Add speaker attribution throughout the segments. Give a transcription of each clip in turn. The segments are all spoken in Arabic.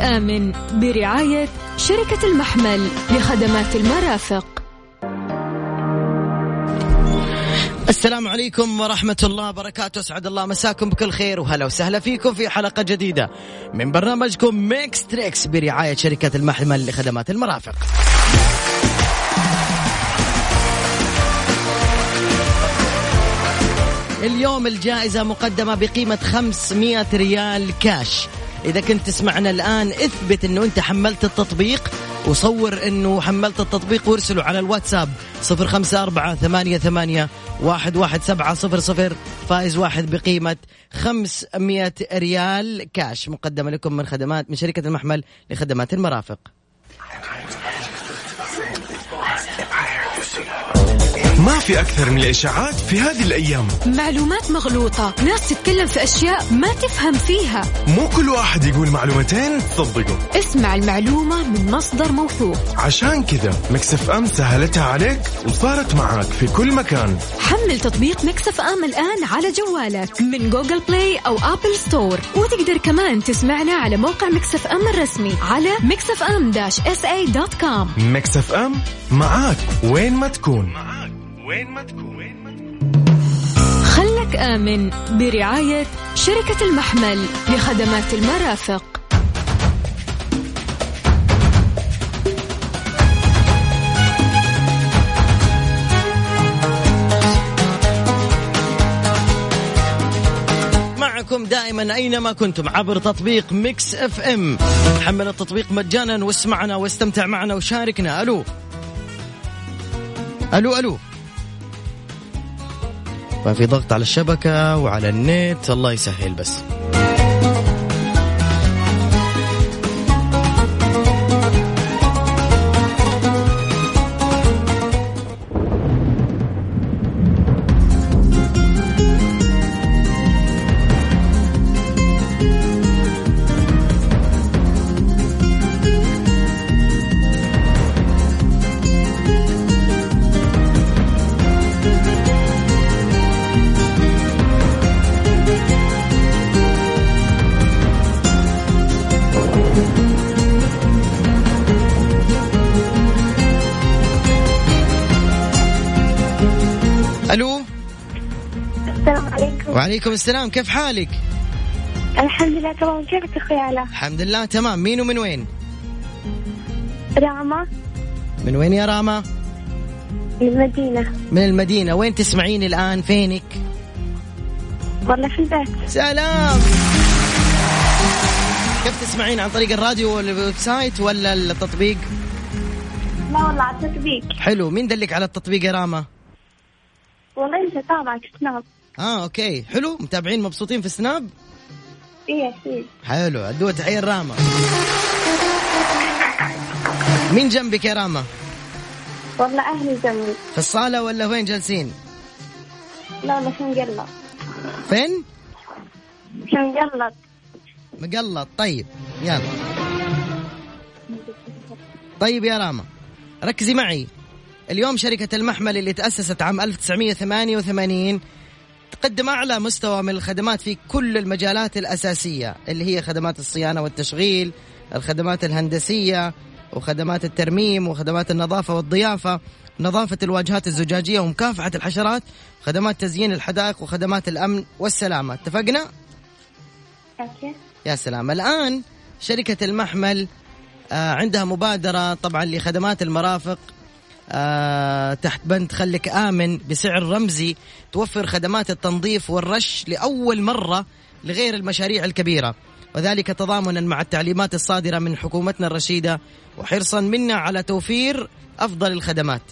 Speaker 1: آمن برعاية شركة المحمل لخدمات المرافق
Speaker 2: السلام عليكم ورحمة الله وبركاته أسعد الله مساكم بكل خير وهلا وسهلا فيكم في حلقة جديدة من برنامجكم ميكس تريكس برعاية شركة المحمل لخدمات المرافق اليوم الجائزة مقدمة بقيمة 500 ريال كاش إذا كنت تسمعنا الآن اثبت أنه أنت حملت التطبيق وصور أنه حملت التطبيق وارسله على الواتساب 054 88 117 00 فائز واحد بقيمة 500 ريال كاش مقدمة لكم من خدمات من شركة المحمل لخدمات المرافق
Speaker 3: ما في أكثر من الإشاعات في هذه الأيام
Speaker 1: معلومات مغلوطة ناس تتكلم في أشياء ما تفهم فيها
Speaker 3: مو كل واحد يقول معلومتين تصدقوا
Speaker 1: اسمع المعلومة من مصدر موثوق
Speaker 3: عشان كذا مكسف أم سهلتها عليك وصارت معاك في كل مكان
Speaker 1: حمل تطبيق مكسف ام الان على جوالك من جوجل بلاي او ابل ستور وتقدر كمان تسمعنا على موقع مكسف ام الرسمي على مكسف ام داش اس اي دوت كوم
Speaker 3: مكسف أم معاك وين ما تكون معاك وين ما تكون
Speaker 1: خلك امن برعاية شركة المحمل لخدمات المرافق
Speaker 2: معكم دائما اينما كنتم عبر تطبيق ميكس اف ام حمل التطبيق مجانا واسمعنا واستمتع معنا وشاركنا الو الو الو ما في ضغط على الشبكة وعلى النت الله يسهل بس الو
Speaker 4: السلام عليكم
Speaker 2: وعليكم السلام كيف حالك
Speaker 4: الحمد لله تمام كيفك اخوي علاء
Speaker 2: الحمد لله تمام مين ومن وين
Speaker 4: راما
Speaker 2: من وين يا راما
Speaker 4: من المدينة
Speaker 2: من المدينة وين تسمعيني الآن فينك
Speaker 4: والله في البيت
Speaker 2: سلام كيف تسمعين عن طريق الراديو والويب سايت ولا التطبيق
Speaker 4: لا والله على التطبيق
Speaker 2: حلو مين دلك على التطبيق يا راما
Speaker 4: والله انت طابعك سناب
Speaker 2: اه اوكي حلو متابعين مبسوطين في سناب
Speaker 4: اي اكيد
Speaker 2: حلو ادوها تحيه لراما مين جنبك يا راما
Speaker 4: والله اهلي جنبي
Speaker 2: في الصاله ولا وين جالسين
Speaker 4: لا والله في مقلط
Speaker 2: فين
Speaker 4: في مقلط
Speaker 2: مقلط طيب يلا طيب يا راما ركزي معي اليوم شركة المحمل اللي تأسست عام 1988 تقدم أعلى مستوى من الخدمات في كل المجالات الأساسية اللي هي خدمات الصيانة والتشغيل الخدمات الهندسية وخدمات الترميم وخدمات النظافة والضيافة نظافة الواجهات الزجاجية ومكافحة الحشرات خدمات تزيين الحدائق وخدمات الأمن والسلامة اتفقنا؟
Speaker 4: اوكي
Speaker 2: يا سلام الآن شركة المحمل آه، عندها مبادرة طبعا لخدمات المرافق آه، تحت بند خلك آمن بسعر رمزي توفر خدمات التنظيف والرش لأول مرة لغير المشاريع الكبيرة وذلك تضامنا مع التعليمات الصادرة من حكومتنا الرشيدة وحرصا منا على توفير أفضل الخدمات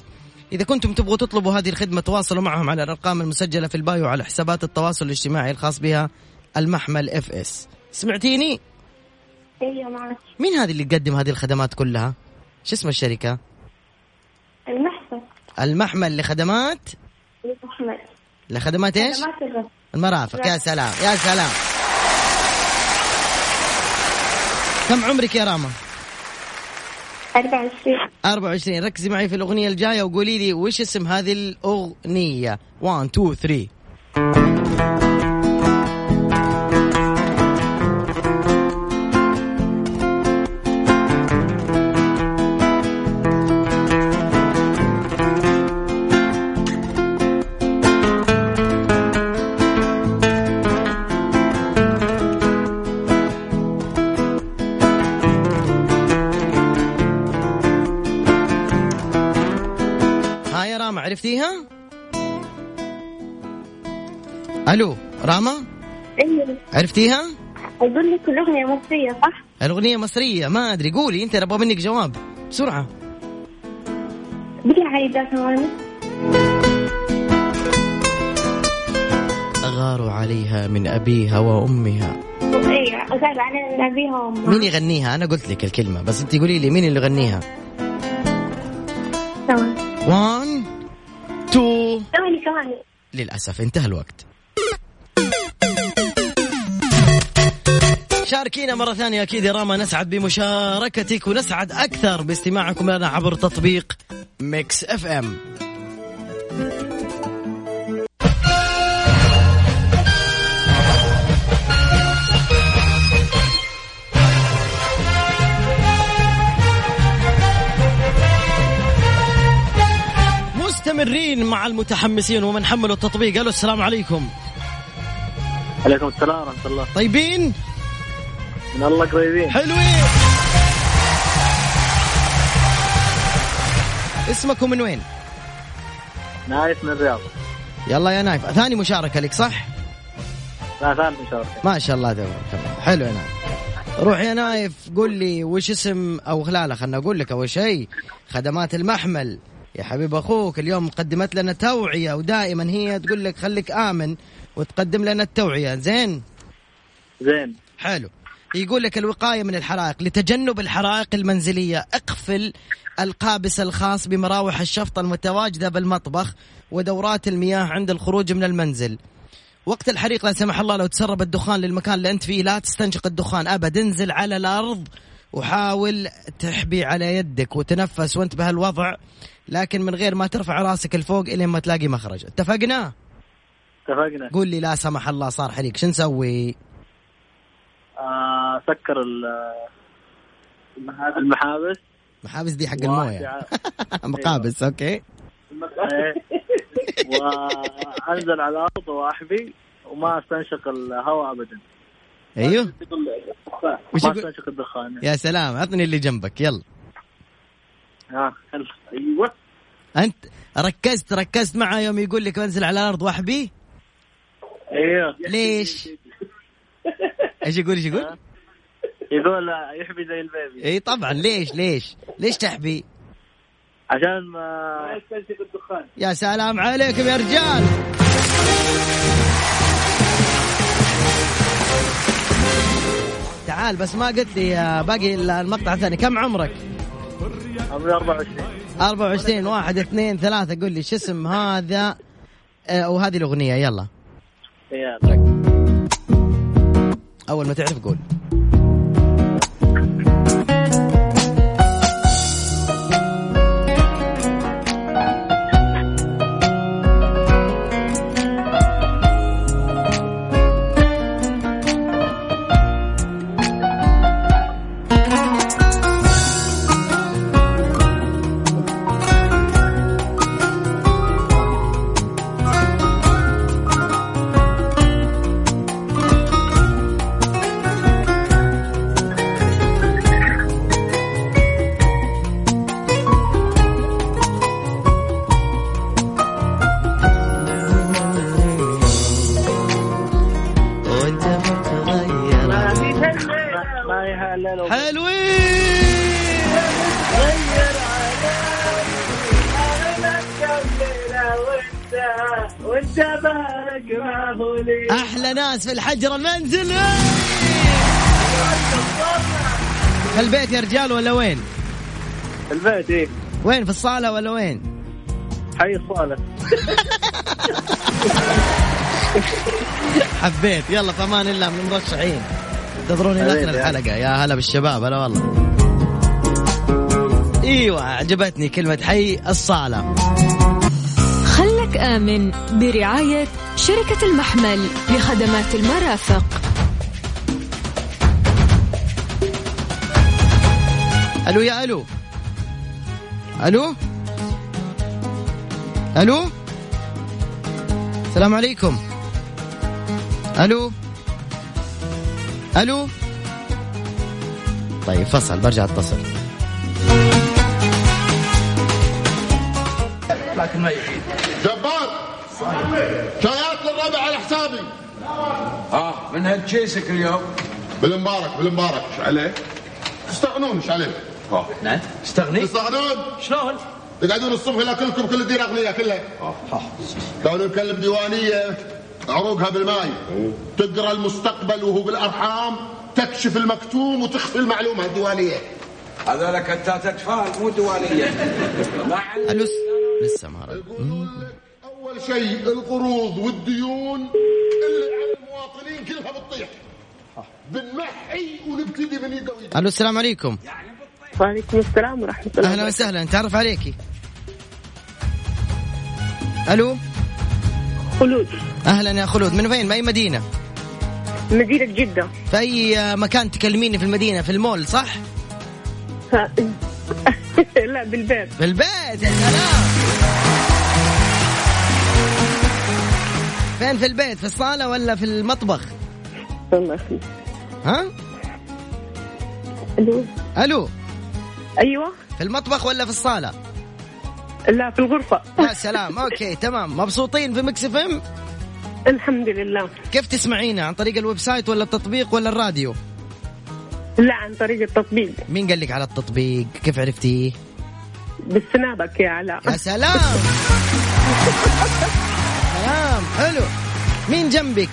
Speaker 2: إذا كنتم تبغوا تطلبوا هذه الخدمة تواصلوا معهم على الأرقام المسجلة في البايو على حسابات التواصل الاجتماعي الخاص بها المحمل اف اس سمعتيني؟
Speaker 4: ايوه معك
Speaker 2: مين هذه اللي تقدم هذه الخدمات كلها؟ شو اسم الشركة؟
Speaker 4: المحسن
Speaker 2: المحمل لخدمات
Speaker 4: محمد
Speaker 2: لخدمات ايش؟
Speaker 4: خدمات الرسم
Speaker 2: المرافق يا سلام يا سلام كم عمرك يا راما؟
Speaker 4: 24
Speaker 2: 24 ركزي معي في الأغنية الجاية وقولي لي وش اسم هذه الأغنية 1 2 3 عرفتيها؟ الو راما
Speaker 4: ايوه
Speaker 2: عرفتيها؟
Speaker 4: اقول لك الاغنيه مصريه صح؟
Speaker 2: الاغنيه مصريه ما ادري قولي انت أنا ابغى منك جواب بسرعه
Speaker 4: بدي اعيدها ثواني
Speaker 2: غاروا عليها من ابيها وامها
Speaker 4: ايوه غير علينا ابيها وامها
Speaker 2: مين يغنيها انا قلت لك الكلمه بس انت قولي لي مين اللي يغنيها
Speaker 4: ثواني
Speaker 2: 1 2
Speaker 4: ثواني ثواني
Speaker 2: للأسف انتهى الوقت شاركينا مرة ثانية أكيد يا راما نسعد بمشاركتك ونسعد أكثر باستماعكم لنا عبر تطبيق ميكس اف ام مستمرين مع المتحمسين ومن حملوا التطبيق قالوا السلام عليكم
Speaker 5: عليكم السلام ورحمة الله
Speaker 2: طيبين
Speaker 5: من الله قريبين
Speaker 2: حلوين اسمكم من وين
Speaker 5: نايف من الرياض
Speaker 2: يلا يا نايف ثاني مشاركة لك صح
Speaker 5: لا ثالث مشاركة
Speaker 2: ما شاء الله تبارك الله حلو يا نايف روح يا نايف قول لي وش اسم او لا لا خلنا اقول لك اول شيء خدمات المحمل يا حبيب اخوك اليوم قدمت لنا توعيه ودائما هي تقول لك خليك امن وتقدم لنا التوعيه زين
Speaker 5: زين
Speaker 2: حلو يقول لك الوقايه من الحرائق لتجنب الحرائق المنزليه اقفل القابس الخاص بمراوح الشفط المتواجده بالمطبخ ودورات المياه عند الخروج من المنزل وقت الحريق لا سمح الله لو تسرب الدخان للمكان اللي انت فيه لا تستنشق الدخان ابدا انزل على الارض وحاول تحبي على يدك وتنفس وانت بهالوضع لكن من غير ما ترفع راسك لفوق الين ما تلاقي مخرج اتفقنا
Speaker 5: اتفقنا
Speaker 2: قول لي لا سمح الله صار حريق شو نسوي
Speaker 5: آه سكر ال- المحابس المحابس
Speaker 2: محابس دي حق
Speaker 5: واحد
Speaker 2: المويه
Speaker 5: يع-
Speaker 2: مقابس اوكي
Speaker 5: إيه. وانزل على الارض واحبي وما استنشق الهواء ابدا
Speaker 2: ايوه وش
Speaker 5: ما
Speaker 2: يقول-
Speaker 5: استنشق الدخان
Speaker 2: يا سلام عطني اللي جنبك يلا
Speaker 5: ها هل- ايوه
Speaker 2: انت ركزت ركزت معه يوم يقول لك انزل على الارض واحبي
Speaker 5: ايوه
Speaker 2: ليش؟ ايش يقول ايش يقول؟
Speaker 5: يقول يحبي زي البيبي
Speaker 2: اي طبعا ليش ليش؟ ليش تحبي؟
Speaker 5: عشان ما يستنشق الدخان
Speaker 2: يا سلام عليكم يا رجال تعال بس ما قلت لي يا باقي المقطع الثاني كم عمرك؟
Speaker 5: عمري 24
Speaker 2: 24 واحد اثنين ثلاثة قول لي شو اسم هذا آه، وهذه الأغنية يلا
Speaker 5: يلا
Speaker 2: طيب. أول ما تعرف قول وانت متغير
Speaker 5: ما- ما يهلل
Speaker 2: حلوين
Speaker 5: وانت بارك ما هو لي
Speaker 2: احلى ناس في الحجر المنزلي في البيت يا رجال ولا وين؟
Speaker 5: البيت ايه
Speaker 2: وين في الصالة ولا وين؟
Speaker 5: حي الصالة
Speaker 2: حبيت يلا في امان الله من المرشحين انتظروني
Speaker 5: حبيبي
Speaker 2: لاخر
Speaker 5: يا.
Speaker 2: الحلقة يا هلا بالشباب هلا والله ايوه عجبتني كلمة حي الصالة
Speaker 1: خلك آمن برعاية شركة المحمل لخدمات المرافق
Speaker 2: الو يا الو الو الو السلام عليكم الو الو طيب فصل برجع اتصل
Speaker 6: طلعت المريحين
Speaker 7: جبار شايات للربع على حسابي
Speaker 6: اه من هالجيسك اليوم
Speaker 7: بالمبارك بالمبارك ايش عليه؟ تستغنون ايش عليه؟
Speaker 6: نعم استغنيت
Speaker 7: تستغنون
Speaker 6: شلون؟
Speaker 7: تقعدون الصبح الى كلكم كل الدير اغنياء كلها كون الكلب ديوانيه عروقها بالماي تقرا المستقبل وهو بالارحام تكشف المكتوم وتخفي المعلومه الديوانيه
Speaker 6: هذول كتات اطفال مو دواليه مع ال-
Speaker 2: الو لسه ما رد
Speaker 7: يقولون لك اول شيء القروض والديون اللي على المواطنين كلها بتطيح بنمحي ونبتدي من يقوي
Speaker 2: الو السلام عليكم
Speaker 8: وعليكم السلام ورحمة الله
Speaker 2: اهلا وسهلا نتعرف عليكي الو
Speaker 8: خلود
Speaker 2: اهلا يا خلود من وين من اي مدينه
Speaker 8: مدينة جدة
Speaker 2: في اي مكان تكلميني في المدينه في المول صح
Speaker 8: ها. لا بالبيت
Speaker 2: في البيت يا سلام فين في البيت في الصاله ولا في المطبخ
Speaker 8: الله يخليك
Speaker 2: ها
Speaker 8: الو
Speaker 2: الو
Speaker 8: ايوه
Speaker 2: في المطبخ ولا في الصاله
Speaker 8: لا في الغرفة
Speaker 2: يا سلام اوكي تمام مبسوطين في مكس فم
Speaker 8: الحمد لله
Speaker 2: كيف تسمعينا عن طريق الويب سايت ولا التطبيق ولا الراديو
Speaker 8: لا عن طريق التطبيق
Speaker 2: مين قال لك على التطبيق كيف عرفتيه
Speaker 8: بسنابك يا علاء
Speaker 2: يا سلام سلام حلو مين جنبك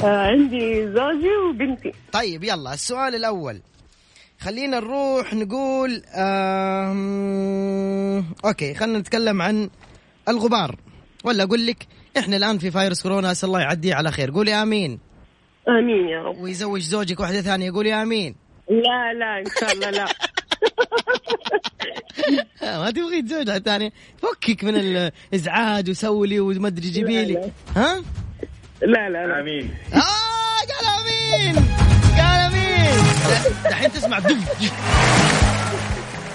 Speaker 8: آه عندي زوجي وبنتي
Speaker 2: طيب يلا السؤال الأول خلينا نروح نقول آم... أوكي خلينا نتكلم عن الغبار ولا أقول لك إحنا الآن في فيروس كورونا أسأل الله يعديه على خير قولي آمين
Speaker 8: امين يا رب
Speaker 2: ويزوج زوجك واحدة ثانية قولي آمين
Speaker 8: لا لا ان شاء الله لا
Speaker 2: ما تبغي تزوج واحدة ثانية فكك من الإزعاج وسوي لي وما أدري جيبي لي ها
Speaker 8: لا لا لا
Speaker 9: امين
Speaker 2: آه قال أمين قال أمين دحين تسمع دف دف.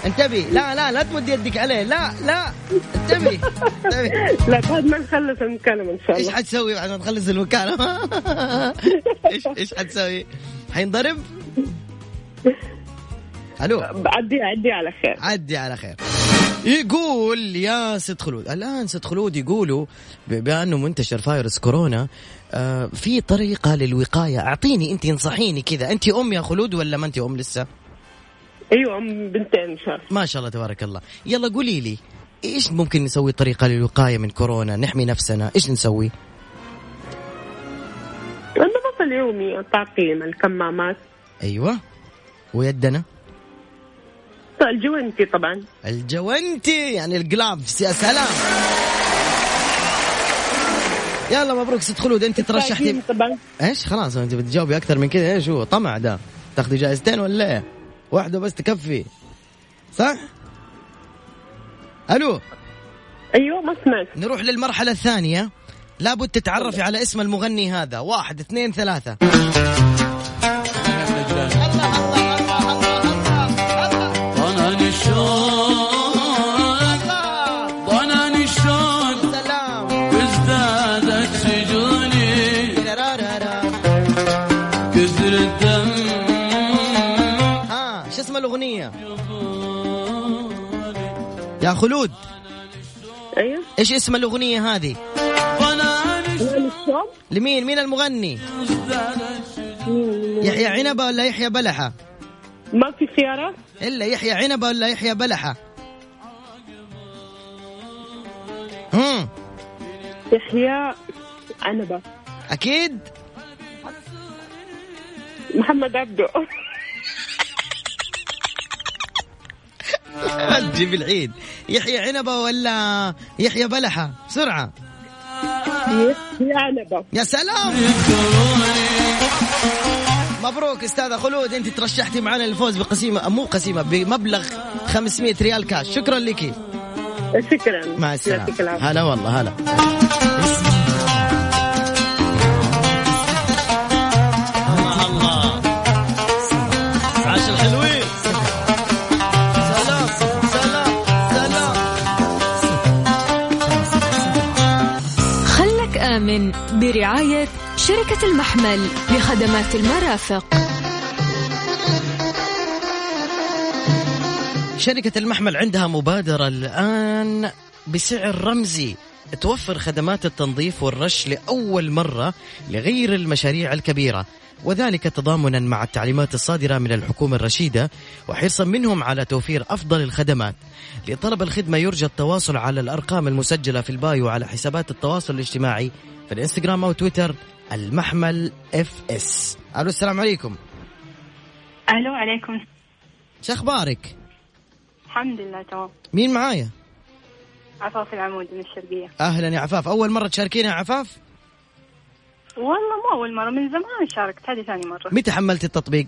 Speaker 2: انتبه لا لا لا تمد يدك عليه لا لا انتبه انتبه
Speaker 8: لا بعد ما نخلص المكالمة ان شاء
Speaker 2: ايش
Speaker 8: الله
Speaker 2: حتسوي بعد ما تخلص المكالمة ايش ايش حتسوي حينضرب الو
Speaker 8: عدي عدي على خير
Speaker 2: عدي على خير يقول يا ست خلود الان ست خلود يقولوا ب- بانه منتشر فيروس كورونا آه في طريقه للوقايه اعطيني انت انصحيني كذا انت ام يا خلود ولا ما انت ام لسه
Speaker 8: ايوه ام بنتين ان شاء الله
Speaker 2: ما شاء الله تبارك الله يلا قولي لي ايش ممكن نسوي طريقه للوقايه من كورونا نحمي نفسنا ايش نسوي
Speaker 8: النظافة اليومي تعقيم الكمامات
Speaker 2: ايوه ويدنا
Speaker 8: الجوانتي طبعا
Speaker 2: الجوانتي يعني الجلافز يا سلام يلا مبروك ست خلود انت ترشحتي
Speaker 8: التعقيم طبعا
Speaker 2: ايش خلاص انت بتجاوبي اكثر من كذا ايش هو طمع ده تاخذي جائزتين ولا ايه؟ واحده بس تكفي صح الو
Speaker 8: ايوه ما سمعت
Speaker 2: نروح للمرحله الثانيه لابد تتعرفي على اسم المغني هذا واحد اثنين ثلاثه
Speaker 5: طنن الشوق طنن الشوق
Speaker 2: سلام
Speaker 5: ازدادت سجوني كسر الدم
Speaker 2: ها شو اسم الاغنيه يا خلود
Speaker 8: ايوه
Speaker 2: ايش اسم الاغنيه هذه
Speaker 5: طنن
Speaker 8: وين الصوب
Speaker 2: لمين مين المغني
Speaker 5: ازدادت
Speaker 2: يحيى عنبه ولا يحيى بلحه
Speaker 8: ما في خيارات
Speaker 2: الا يحيى عنبه ولا يحيى بلحه هم
Speaker 8: يحيى عنبة
Speaker 2: اكيد
Speaker 8: محمد عبده
Speaker 2: لا تجيب العيد يحيى عنبه ولا يحيى بلحه بسرعه
Speaker 8: يحيى عنبة
Speaker 2: يا سلام مبروك استاذه خلود انت ترشحتي معنا للفوز بقسيمه مو قسيمه بمبلغ 500 ريال كاش شكرا لك
Speaker 8: شكرا
Speaker 2: مع
Speaker 8: يعطيك
Speaker 2: السلامه
Speaker 8: العافية.
Speaker 2: هلا والله هلا الله الله عاش الحلوين سلام سلام سلام
Speaker 1: خلك آمن برعاية شركة المحمل لخدمات المرافق
Speaker 2: شركة المحمل عندها مبادرة الآن بسعر رمزي توفر خدمات التنظيف والرش لأول مرة لغير المشاريع الكبيرة وذلك تضامنا مع التعليمات الصادرة من الحكومة الرشيدة وحرصا منهم على توفير أفضل الخدمات لطلب الخدمة يرجى التواصل على الأرقام المسجلة في البايو على حسابات التواصل الاجتماعي في الانستغرام أو تويتر المحمل اف اس ألو السلام عليكم
Speaker 8: الو عليكم
Speaker 2: شخبارك
Speaker 8: الحمد لله تمام
Speaker 2: مين معايا؟
Speaker 8: عفاف العمود من الشرقيه
Speaker 2: اهلا يا عفاف اول مره تشاركينا يا عفاف
Speaker 8: والله مو اول مره من زمان شاركت هذه ثاني مره
Speaker 2: متى حملتي التطبيق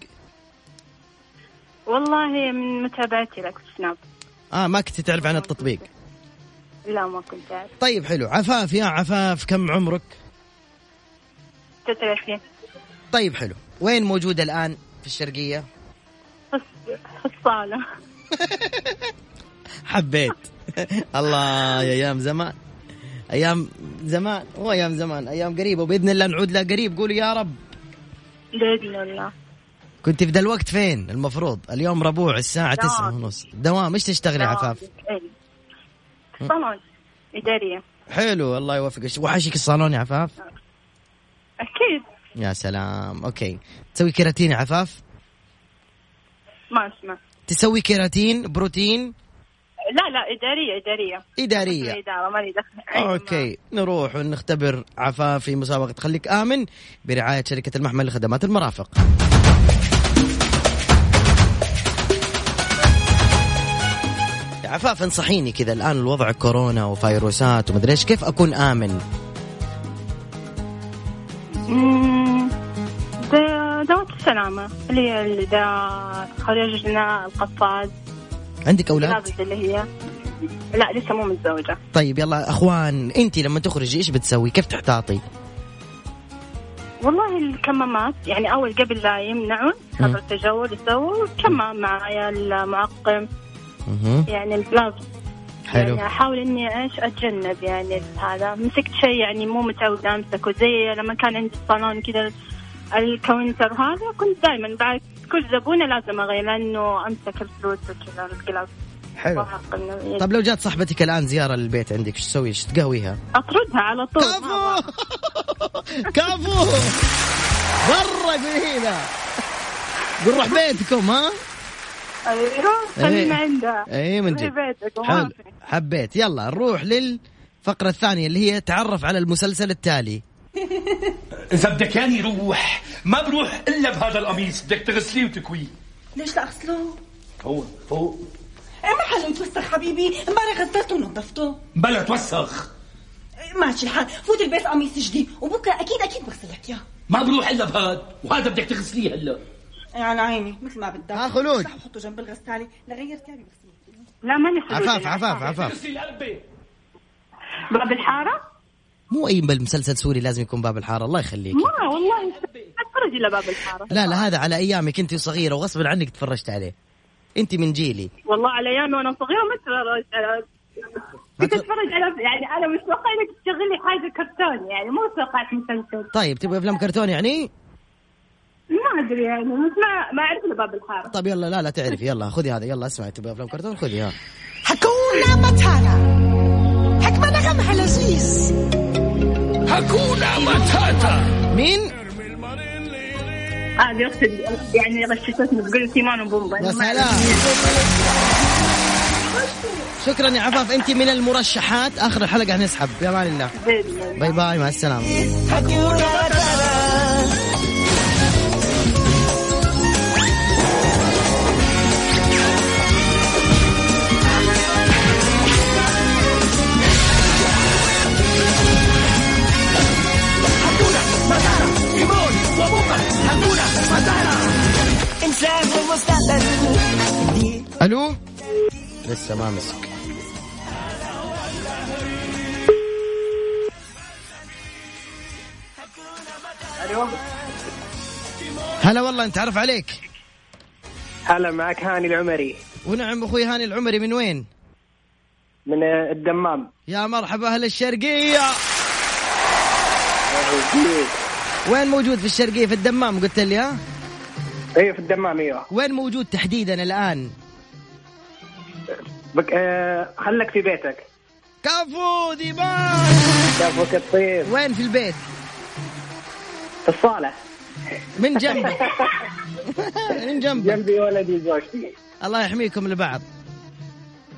Speaker 8: والله من متابعتي لك في سناب
Speaker 2: اه ما كنت تعرف عن التطبيق
Speaker 8: لا ما كنت اعرف
Speaker 2: طيب حلو عفاف يا عفاف كم عمرك
Speaker 8: 23
Speaker 2: طيب حلو وين موجوده الان في الشرقيه
Speaker 8: خص- خصاله
Speaker 2: حبيت الله يا ايام زمان ايام زمان هو ايام زمان ايام قريبه وباذن الله نعود لها قريب قولوا يا رب
Speaker 8: باذن الله
Speaker 2: كنت في ذا الوقت فين المفروض اليوم ربوع الساعه
Speaker 8: دوام.
Speaker 2: 9 ونص دوام ايش تشتغلي يا عفاف
Speaker 8: إيه. صالون اداريه
Speaker 2: حلو الله يوفقك وحشك الصالون يا عفاف
Speaker 8: اكيد
Speaker 2: يا سلام اوكي تسوي كيراتين يا عفاف
Speaker 8: ما اسمع
Speaker 2: تسوي كيراتين بروتين
Speaker 8: لا لا اداريه اداريه
Speaker 2: إدارية
Speaker 8: اداره مالي دخل أيوة.
Speaker 2: أوكي نروح ونختبر عفاف في مسابقة خليك آمن برعاية شركة المحمل لخدمات المرافق يا عفاف انصحيني كذا الآن الوضع كورونا وفيروسات ومدري إيش كيف أكون آمن
Speaker 8: مم، دا- دوات السلامة اللي هي اللي دا خرجنا القفاز
Speaker 2: عندك أولاد
Speaker 8: الملابس اللي هي لا لسه مو متزوجة
Speaker 2: طيب يلا أخوان أنت لما تخرجي إيش بتسوي كيف تحتاطي
Speaker 8: والله الكمامات يعني أول قبل لا يمنعون
Speaker 2: مم.
Speaker 8: خبر التجول يسووا كمام معايا المعقم
Speaker 2: مهم.
Speaker 8: يعني البلابس
Speaker 2: حلو
Speaker 8: يعني أحاول إني إيش أتجنب يعني هذا مسكت شيء يعني مو متعودة أمسكه زي لما كان عندي الصالون كذا الكاونتر هذا كنت دائما بعد كل زبونة لازم أغير لأنه أمسك الفلوس وكذا القلاص
Speaker 2: حلو
Speaker 8: وأحط إنه
Speaker 2: طب طيب، لو جات صاحبتك الآن زيارة للبيت عندك ايش تسوي ايش تقهويها
Speaker 8: اطردها على طول
Speaker 2: كفو كفو مرة قليلة بنروح بيتكم ها
Speaker 8: ايوه خلينا
Speaker 2: إيه.
Speaker 8: عندها
Speaker 2: اي من
Speaker 8: في
Speaker 2: جد
Speaker 8: بيتك
Speaker 2: حلو
Speaker 8: وموافق
Speaker 2: حبيت يلا نروح للفقرة الثانية اللي هي تعرف على المسلسل التالي
Speaker 6: زبدكان يروح ما بروح الا بهذا القميص بدك تغسليه وتكويه
Speaker 10: ليش لا اغسله؟
Speaker 6: فوق فوق
Speaker 10: إيه ما حلو يتوسخ حبيبي امبارح غسلته ونظفته
Speaker 6: بلا توسخ
Speaker 10: إيه ماشي الحال فوت البيت قميص جديد وبكره اكيد اكيد بغسل لك اياه
Speaker 6: ما بروح الا بهذا وهذا بدك تغسليه هلا
Speaker 10: إيه على عيني مثل ما بدك
Speaker 2: آه، خلود.
Speaker 10: افتحه وحطه جنب الغسالة لغير ثيابي بغسله
Speaker 8: لا ماني خلود
Speaker 2: عفاف
Speaker 8: أنا.
Speaker 2: عفاف عفاف
Speaker 8: باب الحاره
Speaker 2: مو اي مسلسل سوري لازم يكون باب الحارة الله يخليك
Speaker 8: ما والله ما اتفرج الا باب الحاره
Speaker 2: لا لا هذا على ايامك انت صغيرة وغصب عنك تفرجت عليه انت من جيلي
Speaker 8: والله على ايامي وانا صغيره ما اتفرج على- كنت اتفرج على يعني انا مش متوقعه انك تشغلي حاجه كرتون يعني مو توقعت مسلسل
Speaker 2: طيب تبغى افلام كرتون يعني؟
Speaker 8: ما ادري يعني مش ما ما اعرف الا باب الحاره
Speaker 2: طب طيب، يلا لا لا تعرفي يلا خذي هذا يلا اسمعي تبغى افلام كرتون خذي ها
Speaker 10: هكونا متانا حكمة نغمها لذيذ
Speaker 2: مين؟
Speaker 8: هذه اختي آه، يعني غششتني تقول تيمان وبومبا
Speaker 2: يا سلام شكرا يا عفاف انت من المرشحات اخر الحلقه هنسحب يا مان الله باي باي مع السلامه الو لسه ما مسك هلا والله نتعرف عليك
Speaker 5: هلا معك هاني العمري
Speaker 2: ونعم اخوي هاني العمري من وين؟
Speaker 5: من الدمام
Speaker 2: يا مرحبا اهل الشرقيه وين موجود في الشرقيه في الدمام قلت لي ها؟
Speaker 5: ايوه في إيه، الدمام ايوه
Speaker 2: وين موجود تحديدا الان؟
Speaker 5: بك آه خلك في بيتك
Speaker 2: كفو ديباج
Speaker 5: كفوك الطيب
Speaker 2: وين في البيت؟
Speaker 5: في الصالة
Speaker 2: من جنبك من جنبك
Speaker 5: جنبي ولدي وزوجتي
Speaker 2: الله يحميكم لبعض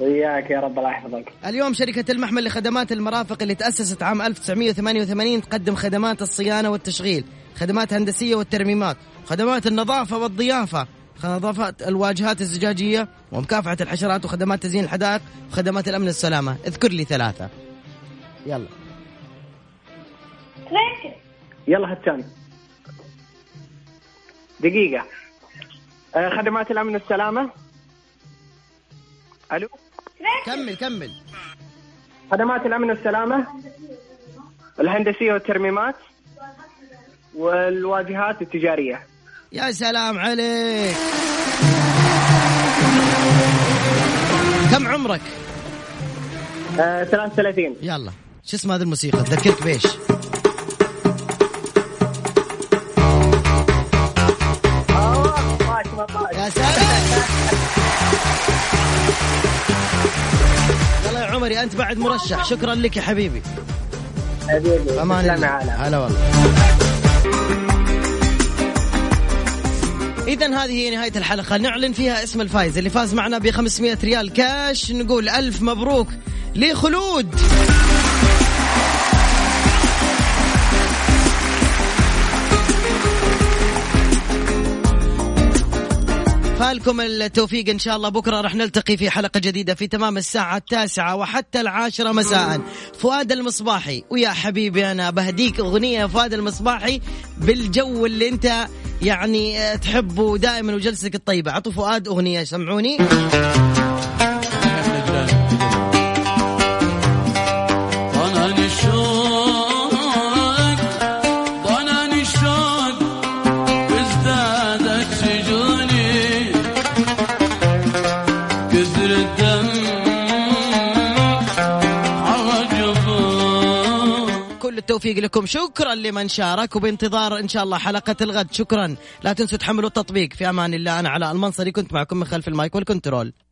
Speaker 5: وياك يا رب الله يحفظك
Speaker 2: اليوم شركة المحمل لخدمات المرافق اللي تأسست عام 1988 تقدم خدمات الصيانة والتشغيل خدمات هندسية والترميمات خدمات النظافة والضيافة نظافة الواجهات الزجاجية ومكافحة الحشرات وخدمات تزيين الحدائق وخدمات الأمن السلامة اذكر لي ثلاثة يلا
Speaker 5: يلا هالتاني دقيقة آه خدمات الأمن والسلامة ألو
Speaker 2: كمل كمل
Speaker 5: خدمات الأمن والسلامة الهندسية والترميمات والواجهات التجارية
Speaker 2: يا سلام عليك كم عمرك؟
Speaker 5: آه 33
Speaker 2: يلا شو اسم هذه الموسيقى؟ تذكرت بايش؟ يا سلام يلا يا عمري انت بعد مرشح شكرا لك يا حبيبي
Speaker 5: حبيبي
Speaker 2: امان
Speaker 5: تسلم
Speaker 2: الله
Speaker 5: يا عالم.
Speaker 2: هلا والله إذا هذه هي نهاية الحلقة نعلن فيها اسم الفائز اللي فاز معنا ب 500 ريال كاش نقول ألف مبروك لخلود فالكم التوفيق ان شاء الله بكره راح نلتقي في حلقه جديده في تمام الساعه التاسعه وحتى العاشره مساء فؤاد المصباحي ويا حبيبي انا بهديك اغنيه يا فؤاد المصباحي بالجو اللي انت يعني تحبه دائما وجلسك الطيبه عطوا فؤاد اغنيه سمعوني
Speaker 11: طنن الشوق طنن الشوق وازدادت سجوني كثر الدم عرج
Speaker 2: كل التوفيق لكم شكرا لمن شارك وبانتظار ان شاء الله حلقه الغد شكرا لا تنسوا تحملوا التطبيق في امان الله انا علاء المنصري كنت معكم من خلف المايك والكنترول